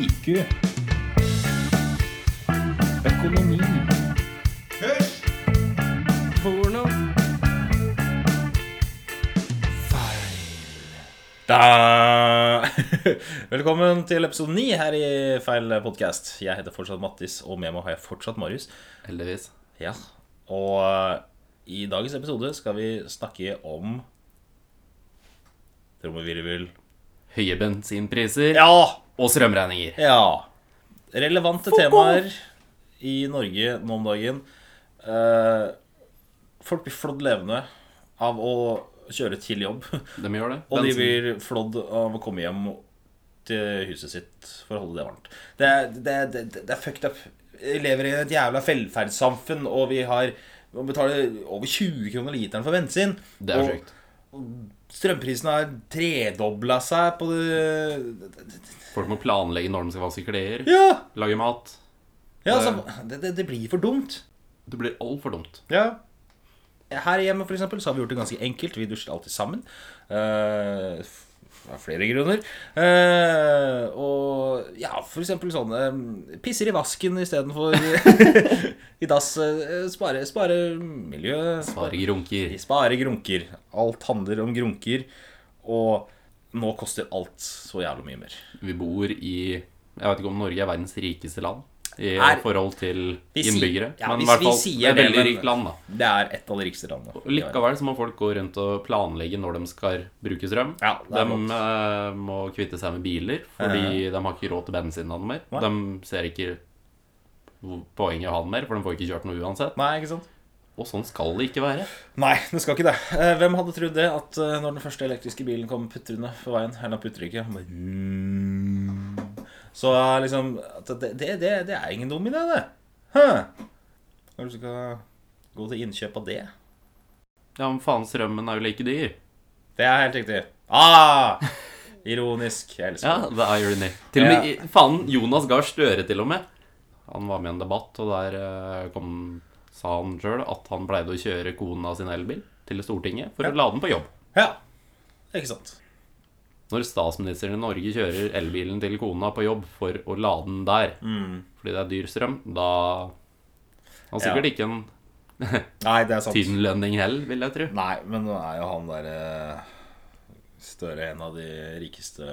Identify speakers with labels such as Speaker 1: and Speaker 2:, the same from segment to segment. Speaker 1: IQ. Økonomi.
Speaker 2: Porno.
Speaker 3: Da. Velkommen til episode 9 her i Feil podkast. Jeg heter fortsatt Mattis, og med meg har jeg fortsatt Marius.
Speaker 2: Heldigvis.
Speaker 3: Ja. Og eh, i dagens episode skal vi snakke om Trommevirvel.
Speaker 2: Høye bensinpriser
Speaker 3: Ja!
Speaker 2: og strømregninger.
Speaker 3: Ja. Relevante temaer i Norge nå om dagen. Eh, folk blir flådd levende av å kjøre til jobb.
Speaker 2: De gjør det.
Speaker 3: Og de
Speaker 2: Bensin.
Speaker 3: blir flådd av å komme hjem til huset sitt for å holde det varmt. Det er, det, er- det, det er fucked up. Vi lever i et jævla velferdssamfunn, og vi har man betaler over 20 kroner literen for bensin.
Speaker 2: Det er
Speaker 3: og
Speaker 2: sjukt.
Speaker 3: Strømprisene har tredobla seg på det
Speaker 2: Folk må planlegge når de skal vaske klær,
Speaker 3: Ja!
Speaker 2: lage mat.
Speaker 3: Ja, altså, det, det, det blir for dumt.
Speaker 2: Det blir altfor dumt.
Speaker 3: Ja. Her hjemme for eksempel, så har vi gjort det ganske enkelt. Vi dusjer alltid sammen. Eh, f- av flere grunner. Eh, og ja, for eksempel sånne mm, Pisser i vasken istedenfor i dass. eh, Spare, spare miljø.
Speaker 2: Bare grunker.
Speaker 3: Vi sparer grunker. Alt handler om grunker. Og nå koster alt så jævlig mye mer.
Speaker 2: Vi bor i Jeg vet ikke om Norge er verdens rikeste land i
Speaker 3: Er-
Speaker 2: forhold til
Speaker 3: Vi sier-
Speaker 2: innbyggere.
Speaker 3: ja,
Speaker 2: men
Speaker 3: vi-
Speaker 2: i hvert
Speaker 3: vi
Speaker 2: fall det er et
Speaker 3: sier det,
Speaker 2: veldig
Speaker 3: men-
Speaker 2: rikt land, da.
Speaker 3: Det er et av de rikeste landene.
Speaker 2: Og Likevel så må folk gå rundt og planlegge når de skal bruke strøm.
Speaker 3: Ja, det er
Speaker 2: de
Speaker 3: sant.
Speaker 2: eh, må kvitte seg med biler, fordi de har ikke råd til bensin av den mer.
Speaker 3: Nei.
Speaker 2: De ser ikke hvor- poenget i å ha den mer, for de får ikke kjørt noe uansett.
Speaker 3: Nei, ikke sant?
Speaker 2: Og sånn skal det ikke være.
Speaker 3: Nei, det skal ikke det. Eh, Hvem hadde trodd det? At eh, når den første elektriske bilen kom putrende på veien Eller putter ikke. han bare, mm. Så eh, liksom at det, det, det, det er ingen dum idé, det. Hæ? Når du skal gå til innkjøp av det
Speaker 2: Ja, men faen, strømmen er jo like dyr.
Speaker 3: Det er helt riktig. Ah! Ironisk. Jeg elsker
Speaker 2: Ja,
Speaker 3: det.
Speaker 2: det er irony. Til og med i- faen Jonas Gahr Støre, til og med. Han var med i en debatt, og der eh, kom, sa han sjøl at han pleide å kjøre kona sin elbil til Stortinget for
Speaker 3: Ja.
Speaker 2: å lade den på jobb.
Speaker 3: Ja. Ikke sant.
Speaker 2: Når statsministeren i Norge kjører elbilen til kona på jobb for å lade den der fordi det er dyr strøm, da Han er sikkert ikke en
Speaker 3: Nei, det er sant.
Speaker 2: tynn lønning heller, vil jeg tro.
Speaker 3: Nei, men nå er jo han der eh, Støre en av de rikeste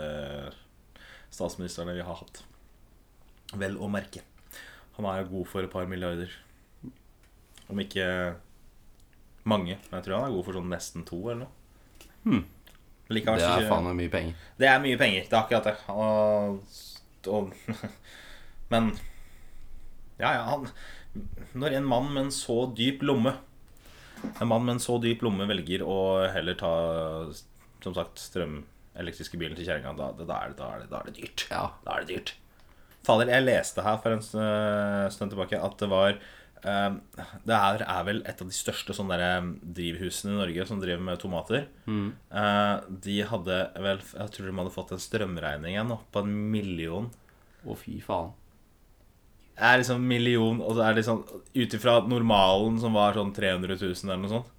Speaker 3: statsministrene vi har hatt. Vel å merke. Han er jo god for et par milliarder. Om ikke mange. Men jeg tror han er god for sånn nesten to eller noe. Hmm.
Speaker 2: Det er faen meg mye penger.
Speaker 3: Det er mye penger, det er akkurat det. Og, og, men Ja, ja, han Når en mann med en så dyp lomme En mann med en så dyp lomme velger å heller ta som sagt, strøm, elektriske bilen til kjerringa, da, da, er det- da, er det- da er det dyrt.
Speaker 2: Ja.
Speaker 3: Da er det dyrt. Fader, jeg leste her for en s- øh, stund tilbake at det var øh, Det her er vel et av de største sånne der, øh, drivhusene i Norge som driver med tomater. Eh, de hadde vel Jeg tror de hadde fått en strømregning igjen nå, på en million.
Speaker 2: Å, fy faen.
Speaker 3: Det er liksom en million, og det er liksom ut ifra normalen som var sånn 300 000 eller noe sånt.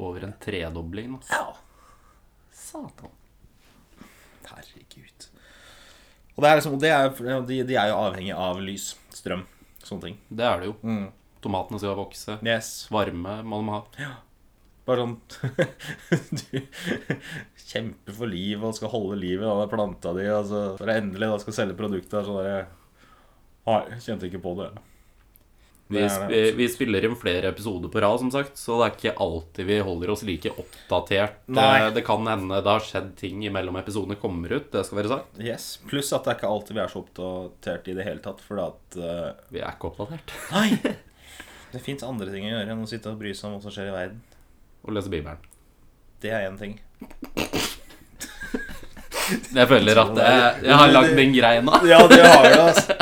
Speaker 2: Over en tredobling, nå.
Speaker 3: Ja.
Speaker 2: Satan.
Speaker 3: Herregud. Og det er liksom, og det er, de, de er jo avhengig av lys, strøm, sånne ting.
Speaker 2: Det er det jo.
Speaker 3: Mm.
Speaker 2: Tomatene skal vokse.
Speaker 3: Yes.
Speaker 2: Varme må de ha.
Speaker 3: Bare sånn Du kjemper for livet og skal holde livet i den der planta di, og så når jeg endelig da skal selge produktet, er sånn der Nei, kjente ikke på det.
Speaker 2: Vi,
Speaker 3: Det er det.
Speaker 2: sp vi spiller inn flere episoder på rad, som sagt, så det er ikke alltid vi holder oss like oppdatert.
Speaker 3: Nei.
Speaker 2: Eh, Det kan hende det har skjedd ting imellom episodene kommer ut, det skal være sagt.
Speaker 3: Yes, Pluss at det er ikke alltid vi er så oppdatert i det hele tatt. Fordi at eh,
Speaker 2: Vi er ikke oppdatert.
Speaker 3: Nei! Det fins andre ting å gjøre enn å sitte og bry seg om hva som skjer i verden.
Speaker 2: Å lese Bibelen.
Speaker 3: Det er én ting.
Speaker 2: Jeg føler at jeg, jeg har lagd den greia nå.
Speaker 3: Ja, det har vi, altså.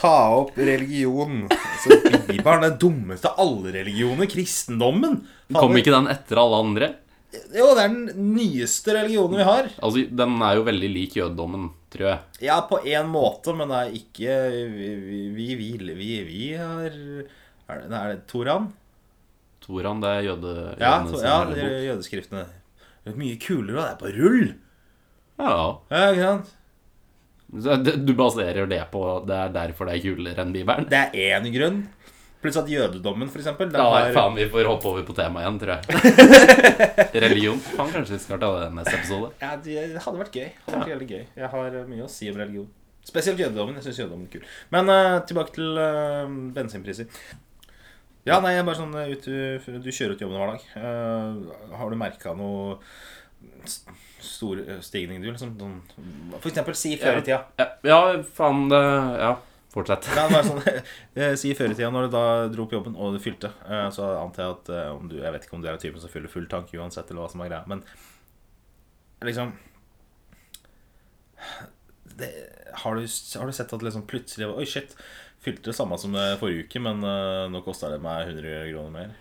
Speaker 3: Ta opp religion. Altså, Bibelen er den dummeste av alle religioner. Kristendommen.
Speaker 2: Kom ikke den etter alle andre?
Speaker 3: Jo, det er den nyeste religionen vi har.
Speaker 2: Altså, Den er jo veldig lik jødedommen, tror jeg.
Speaker 3: Ja, på én måte, men det er ikke Vi, vi, vi, vi, vi har er det, er det Toran?
Speaker 2: Toraen, det er jøde...
Speaker 3: Ja,
Speaker 2: jødene
Speaker 3: så,
Speaker 2: sin
Speaker 3: ja
Speaker 2: hellige
Speaker 3: de
Speaker 2: bok.
Speaker 3: jødeskriftene. Det er mye kulere, og det er på rull!
Speaker 2: ja.
Speaker 3: Ja, ikke sant?
Speaker 2: Så det- Du baserer det på Det er derfor det er kulere enn Bibelen?
Speaker 3: Det er én grunn. Pluss at jødedommen, for eksempel den
Speaker 2: Ja,
Speaker 3: har-
Speaker 2: faen, vi får hoppe over på temaet igjen, tror jeg. Religion. Faen, kanskje vi skal ta det neste episode.
Speaker 3: Ja, det hadde vært gøy. Det hadde vært jævlig gøy. Jeg har eh, mye å si om religion. Spesielt jødedommen. Jeg syns jødedommen er kul. Men eh, tilbake til eh, bensinpriser. Ja, nei, jeg er bare sånn eh, ut, du kjører ut jobben hver dag. Eh, har du merka noe s- stor eh, stigning, du? Liksom, noen, for eksempel si før i tida.
Speaker 2: Ja, ja faen det Ja, fortsett.
Speaker 3: Nei, bare sånn, eh, si i før i tida, når du da dro på jobben og du fylte, eh, så antar jeg at eh, om du, Jeg vet ikke om du er typen som fyller full tank uansett, eller hva som er greia, men liksom det, har, du, har du sett at liksom plutselig Oi, shit. Fylte det samme som eh, forrige uke, men eh, nå kosta det meg 100 kroner mer.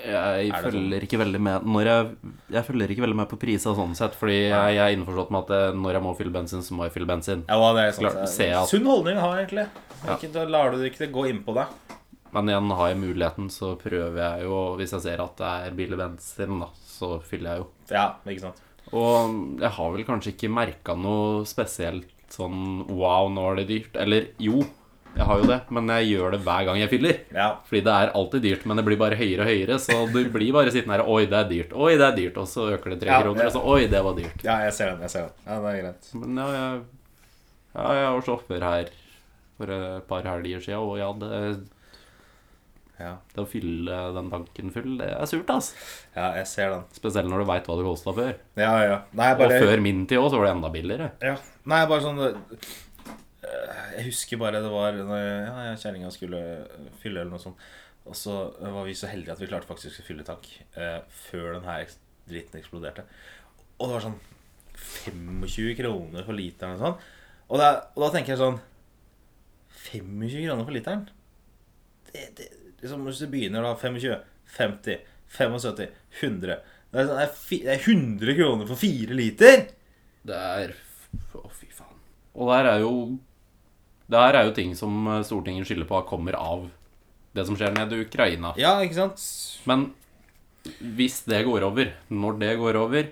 Speaker 2: Jeg
Speaker 3: Er det
Speaker 2: følger ikke veldig med Når jeg, jeg følger ikke veldig med på priser sånn sett, fordi jeg, jeg er innforstått med at eh, når jeg må fylle bensin, så må jeg fylle bensin.
Speaker 3: Ja, hva, det er sånn,
Speaker 2: Klart, se at-
Speaker 3: Sunn holdning å ha, egentlig.
Speaker 2: Ja.
Speaker 3: Ikke, da lar du det ikke gå innpå deg.
Speaker 2: Men igjen, har jeg muligheten, så prøver jeg jo og Hvis jeg ser at det er billig bensin, da, så fyller jeg jo.
Speaker 3: Ja, ikke sant.
Speaker 2: Og jeg har vel kanskje ikke merka noe spesielt sånn Wow, nå er det dyrt. Eller jo, jeg har jo det, men jeg gjør det hver gang jeg fyller.
Speaker 3: Ja.
Speaker 2: Fordi det er alltid dyrt, men det blir bare høyere og høyere. Så du blir bare sittende her Oi, det er dyrt. Oi, det er dyrt. Og så øker det tre
Speaker 3: Ja,
Speaker 2: kroner. Og så Oi, det var dyrt.
Speaker 3: ja, jeg ser den. Jeg ser den. Ja, det er greit.
Speaker 2: Men ja, jeg, ja, jeg var shopper her for et par helger siden, og ja, det,
Speaker 3: Ja,
Speaker 2: det å fylle den tanken full, det er surt, ass.
Speaker 3: ja jeg ser den.
Speaker 2: Spesielt når du veit hva det kosta før.
Speaker 3: Ja, ja. Nei, jeg
Speaker 2: Og
Speaker 3: bare,
Speaker 2: før min tid òg, så var det enda billigere.
Speaker 3: Ja. Nei, bare sånn øh, Jeg husker bare det var når jeg- ja, jeg og kjerringa skulle eh, fylle eller noe sånt. Og så eh, var vi så heldige at vi klarte faktisk å fylle tank eh, før den her eks- dritten eksploderte. Og det var sånn 25 kroner for literen og sånn. Og, det, er- og da tenker jeg sånn 25 kroner for literen? Det, det, liksom, hvis du begynner da 25, 50, 75, 100 Det er, sånn, det er, fi, det er 100 kroner for fire liter!
Speaker 2: Det er Å, fy faen. Og det her er jo Det her er jo ting som eh, Stortinget skylder på kommer av det som skjer nede i Ukraina.
Speaker 3: Ja, ikke sant?
Speaker 2: Men hvis det går over, når det går over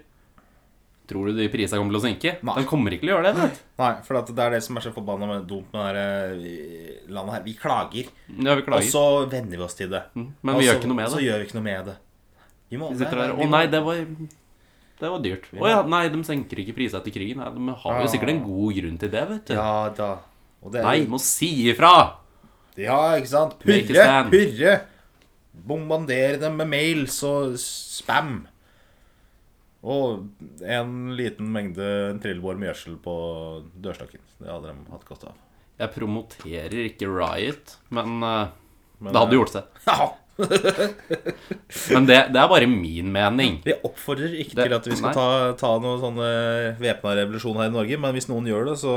Speaker 2: Tror du de prisene kommer til å synke?
Speaker 3: Nei.
Speaker 2: Den kommer ikke til å gjøre det. vet
Speaker 3: Nei, for at det er det som er så forbanna med- dumt med det her eh, landet her. Vi klager,
Speaker 2: du. Ja, vi
Speaker 3: og
Speaker 2: klager. Mm.
Speaker 3: så venner vi oss til det.
Speaker 2: Men vi
Speaker 3: Og så-
Speaker 2: gjør ikke noe med
Speaker 3: Altså, Så
Speaker 2: det.
Speaker 3: gjør vi ikke noe med det. Vi må,
Speaker 2: Vi sitter der
Speaker 3: vi
Speaker 2: Å
Speaker 3: må-
Speaker 2: nei, det var det var dyrt. Å ja, nei, de senker ikke prisene etter krigen. Nei, de har jo sikkert en god grunn til det, vet du.
Speaker 3: Ja da. Og det er,
Speaker 2: Nei, må si ifra!
Speaker 3: Ja, ikke sant?
Speaker 2: Make a
Speaker 3: Purre,
Speaker 2: stand.
Speaker 3: purre. Bombardere dem med mails og spam. Og en liten mengde en trillebår med gjødsel på dørstokken. Det hadde de hatt godt av.
Speaker 2: Jeg promoterer ikke Riot, men eh,
Speaker 3: Men-
Speaker 2: det hadde gjort seg.
Speaker 3: Ja,
Speaker 2: Men det, det er bare min mening.
Speaker 3: Vi oppfordrer ikke
Speaker 2: Det-
Speaker 3: til at vi skal
Speaker 2: nei.
Speaker 3: ta, ta noen sånne væpna revolusjon her i Norge, men hvis noen gjør det, så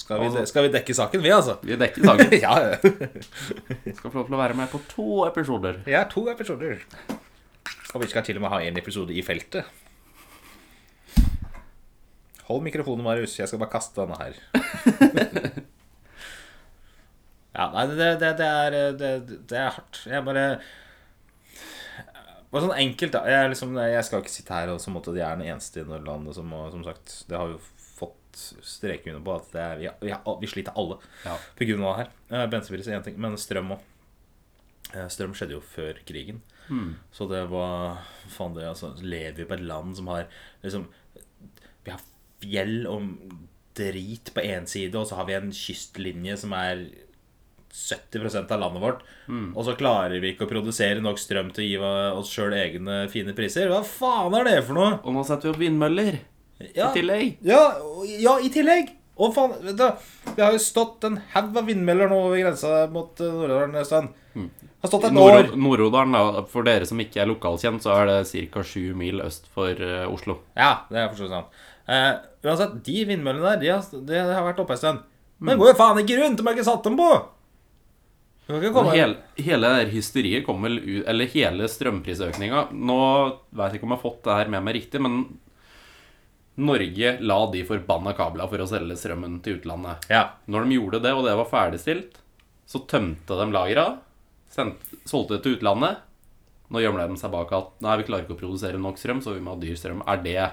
Speaker 3: skal vi,
Speaker 2: Altså-
Speaker 3: skal vi dekke saken, vi, altså.
Speaker 2: Vi dekker saken.
Speaker 3: ja, ja.
Speaker 2: Skal få lov til å være med på to episoder.
Speaker 3: Vi er to episoder. Og vi skal til og med ha en episode i feltet. Hold mikrofonen, Marius. Jeg skal bare kaste denne her. ja, nei, det, det, det, er, det, det er hardt. Jeg bare Bare sånn enkelt, da. Jeg, er liksom, jeg skal ikke sitte her og som måtte de er den eneste i Nordlandet som, har- som sagt Det har vi jo fått streke under på at det er, vi, vi, vi sliter alle
Speaker 2: Ja.
Speaker 3: på grunn av det her. Eh, Bensinpris er én ting, men strøm òg. Eh, Strøm skjedde jo før krigen.
Speaker 2: Mm.
Speaker 3: Så det var Faen, det altså. Lever vi på et land som har liksom Vi har fjell og drit på én side, og så har vi en kystlinje som er 70 av landet vårt,
Speaker 2: Mm.
Speaker 3: og så klarer vi ikke å produsere nok strøm til å gi oss sjøl egne fine priser. Hva faen er det for noe?
Speaker 2: Og nå setter vi opp vindmøller i
Speaker 3: Ja.
Speaker 2: tillegg.
Speaker 3: Ja, og- ja i tillegg! Og faen, vet du, det har jo stått en haug av vindmøller nå over grensa mot eh, Nord-Østerdalen. nesten.
Speaker 2: Mm.
Speaker 3: Det har stått
Speaker 2: I
Speaker 3: et
Speaker 2: Nord-
Speaker 3: år.
Speaker 2: Nord-Odalen, da, for dere som ikke er lokalkjent, så er det ca. sju mil øst for eh, Oslo.
Speaker 3: Ja, det er forstått sant. Eh, uansett, de vindmøllene der, de har, de har vært oppe en stund. Men det går jo faen ikke rundt! De har ikke satt dem på! Du kan ikke
Speaker 2: Og
Speaker 3: komme
Speaker 2: hele, hele det her hysteriet kom vel ut Eller hele strømprisøkninga Nå vet jeg ikke om jeg har fått det her med meg riktig, men Norge la de forbanna kabla for å selge strømmen til utlandet.
Speaker 3: Ja.
Speaker 2: Når de gjorde det, og det var ferdigstilt, så tømte de lagra, sendt- solgte det til utlandet, Nå gjemmer de seg bak at nei, vi klarer ikke å produsere nok strøm, så vi må ha dyr strøm. Er det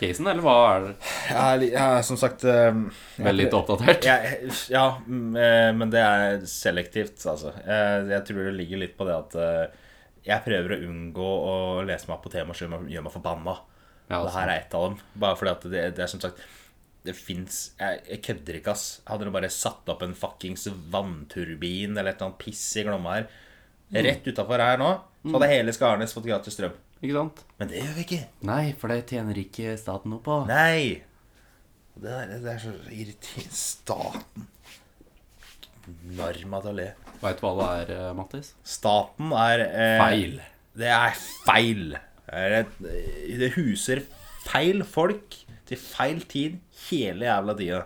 Speaker 2: casen, eller hva er det?
Speaker 3: Jeg er, li- jeg er som sagt eh, jeg-
Speaker 2: Veldig lite oppdatert.
Speaker 3: Jeg, ja, mm, eh, men det er selektivt, altså. Eh, Jeg tror det ligger litt på det at eh, jeg prøver å unngå å lese meg opp på temaer som gjør meg forbanna.
Speaker 2: Ja, altså.
Speaker 3: Det her er ett av dem. Bare fordi at det, det er som sagt Det fins jeg, jeg kødder ikke, ass. Hadde dere bare satt opp en fuckings vannturbin eller et eller annet piss i Glomma her, rett utafor her nå, så hadde hele Skarnes fått gratis strøm.
Speaker 2: Ikke sant?
Speaker 3: Men det gjør vi ikke.
Speaker 2: Nei, for det tjener ikke staten noe på.
Speaker 3: Nei! Det er, det er så irriterende. Staten. Narr meg til å le.
Speaker 2: Veit du hva det er, eh, Mattis?
Speaker 3: Staten er eh,
Speaker 2: Feil.
Speaker 3: Det er feil. Det, er et, eh, det huser feil folk til feil tid hele jævla tida.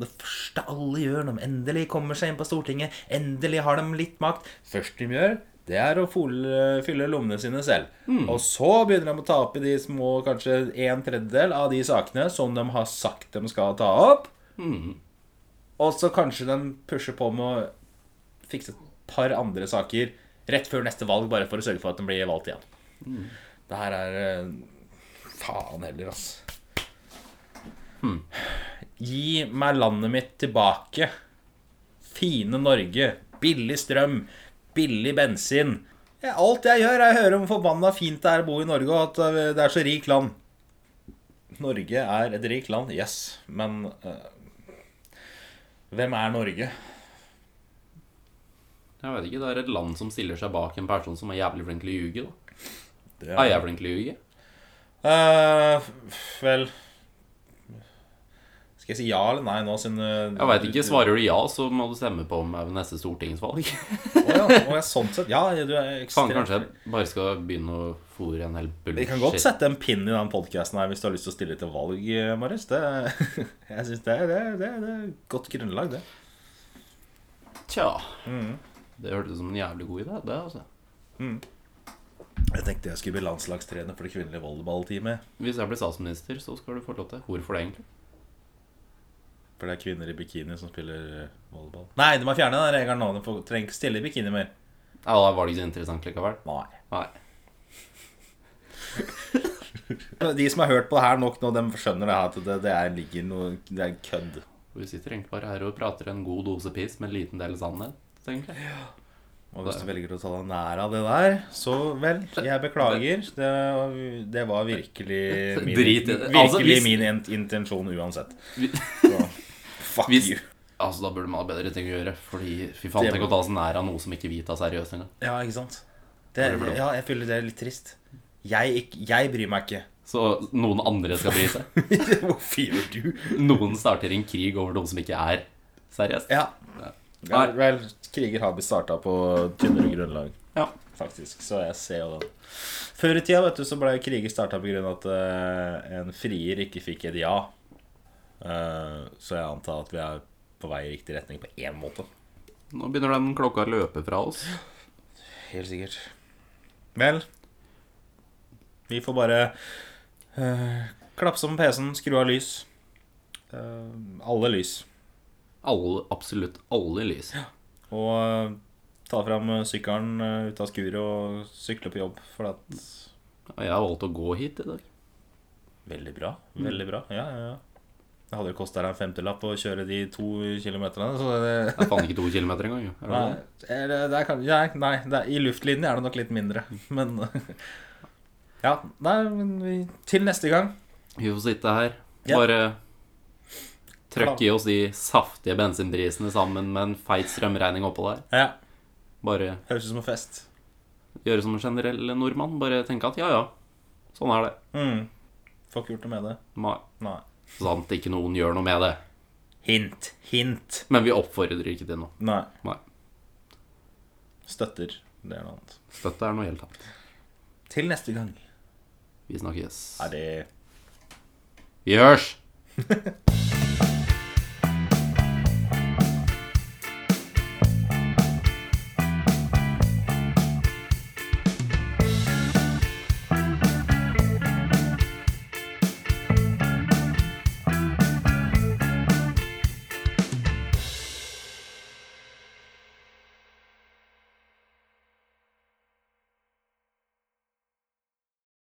Speaker 3: Det første alle gjør når de endelig kommer seg inn på Stortinget, endelig har de litt makt Først de gjør, det er å fole, fylle lommene sine selv. Og så begynner de å ta opp i de små, kanskje en tredjedel av de sakene som de har sagt de skal ta opp. Og så kanskje de pusher på med å fikse et par andre saker rett før neste valg, bare for å sørge for at den blir valgt igjen. Det her er eh, Faen heller, ass. Gi meg landet mitt tilbake. Fine Norge. Billig strøm. Billig bensin. Ja, alt jeg gjør, er å høre om hvor forbanna fint det er å bo i Norge, og at eh, det er så rikt land. Norge er et rikt land, yes, men eh, Hvem er Norge?
Speaker 2: Jeg vet ikke, Det er et land som stiller seg bak en person som er jævlig flink til å ljuge. da.
Speaker 3: Det
Speaker 2: Er jævlig flink til å ljuge?
Speaker 3: Eh, vel Skal jeg si ja eller nei nå, siden eh,
Speaker 2: Jeg veit ikke. Svarer du ja, så må du stemme på meg ved neste stortingsvalg.
Speaker 3: Å ja, å ja, sånn sett. Ja, du er
Speaker 2: Faen,
Speaker 3: ekstremt
Speaker 2: kanskje jeg bare skal begynne å fòre en hel bullshit.
Speaker 3: Vi kan godt sette en pinn i den podkasten her hvis du har lyst til å stille til valg, eh, Marius. Det, jeg synes det, er- det, er- det, er- det er et godt grunnlag, det.
Speaker 2: Tja. Det hørtes ut som en jævlig god idé, det, altså.
Speaker 3: Jeg tenkte jeg skulle bli landslagstrener for det kvinnelige volleyballteamet.
Speaker 2: Hvis jeg blir statsminister, så skal du få lov til. Hvorfor det, egentlig?
Speaker 3: For det er kvinner i bikini som spiller eh, volleyball. Nei, de må fjerne den regelen nå. De får- trenger ikke stille i bikini mer.
Speaker 2: Ja, da var det ikke så interessant likevel.
Speaker 3: Nei.
Speaker 2: Nei.
Speaker 3: De som har hørt på det her nok nå, de skjønner det her at det, det er, ligger noe Det er kødd.
Speaker 2: Vi sitter egentlig bare her og prater en god dose piss med en liten del sannhet, tenker jeg.
Speaker 3: Og hvis du velger å ta deg nær av det der, så vel, jeg beklager. Det, det var virkelig min,
Speaker 2: Drit i det.
Speaker 3: virkelig
Speaker 2: Altså, hvis-
Speaker 3: min int- intensjon uansett.
Speaker 2: Vi-
Speaker 3: Så, fuck
Speaker 2: Hvis-
Speaker 3: you.
Speaker 2: Altså, da burde man ha bedre ting å gjøre, fordi fy faen,
Speaker 3: Det-
Speaker 2: tenk å ta så nær av noe som ikke vi tar seriøst engang.
Speaker 3: Ja, ikke sant? Det,
Speaker 2: Har du blå?
Speaker 3: ja, jeg føler det er litt trist. Jeg, ikk- jeg bryr meg ikke.
Speaker 2: Så noen andre skal bry seg.
Speaker 3: Hvorfor gjør du?
Speaker 2: Noen starter en krig over noe som ikke er seriøst.
Speaker 3: Ja. ja
Speaker 2: Nei.
Speaker 3: vel, kriger har blitt starta på tynnere grunnlag.
Speaker 2: Ja.
Speaker 3: faktisk. Så jeg ser jo den. Før i tida vet du, så ble kriger starta pga. at eh, en frier ikke fikk et ja. Eh, så jeg antar at vi er på vei i riktig retning på én måte.
Speaker 2: Nå begynner den klokka å løpe fra oss.
Speaker 3: Helt sikkert. Vel, vi får bare eh, klapse om PC-en, skru av lys. Eh, alle lys.
Speaker 2: Alle, absolutt alle lys.
Speaker 3: Og eh, ta fram eh, sykkelen eh, ut av skuret og sykle på jobb, for at
Speaker 2: Og jeg har valgt å gå hit i dag.
Speaker 3: Veldig bra. Veldig bra. Ja, ja, ja. Det hadde jo kosta deg en femtelapp å kjøre de to kilometerne, så det
Speaker 2: Det er faen ikke to kilometer engang. jo. Er det
Speaker 3: Nei,
Speaker 2: det?
Speaker 3: eller det er, kan- ja, nei det er, i luftlinje er det nok litt mindre, men Ja, nei, men vi, til neste gang.
Speaker 2: Vi får sitte her.
Speaker 3: Ja.
Speaker 2: Bare trøkke i oss de saftige bensinprisene sammen med en feit strømregning oppå der.
Speaker 3: Ja,
Speaker 2: Bare
Speaker 3: Høres ut som en fest.
Speaker 2: gjøre som en generell nordmann. Bare tenke at ja, ja, sånn er det.
Speaker 3: Mm. Får ikke gjort noe med det.
Speaker 2: Nei.
Speaker 3: Nei.
Speaker 2: Sant, ikke noen gjør noe med det.
Speaker 3: Hint. Hint.
Speaker 2: Men vi oppfordrer ikke til noe.
Speaker 3: Nei.
Speaker 2: Nei.
Speaker 3: Støtter. Det er noe annet.
Speaker 2: Støtte er noe helt annet.
Speaker 3: Til neste gang
Speaker 2: Vi snakkes.
Speaker 3: er det
Speaker 2: Vi hørs!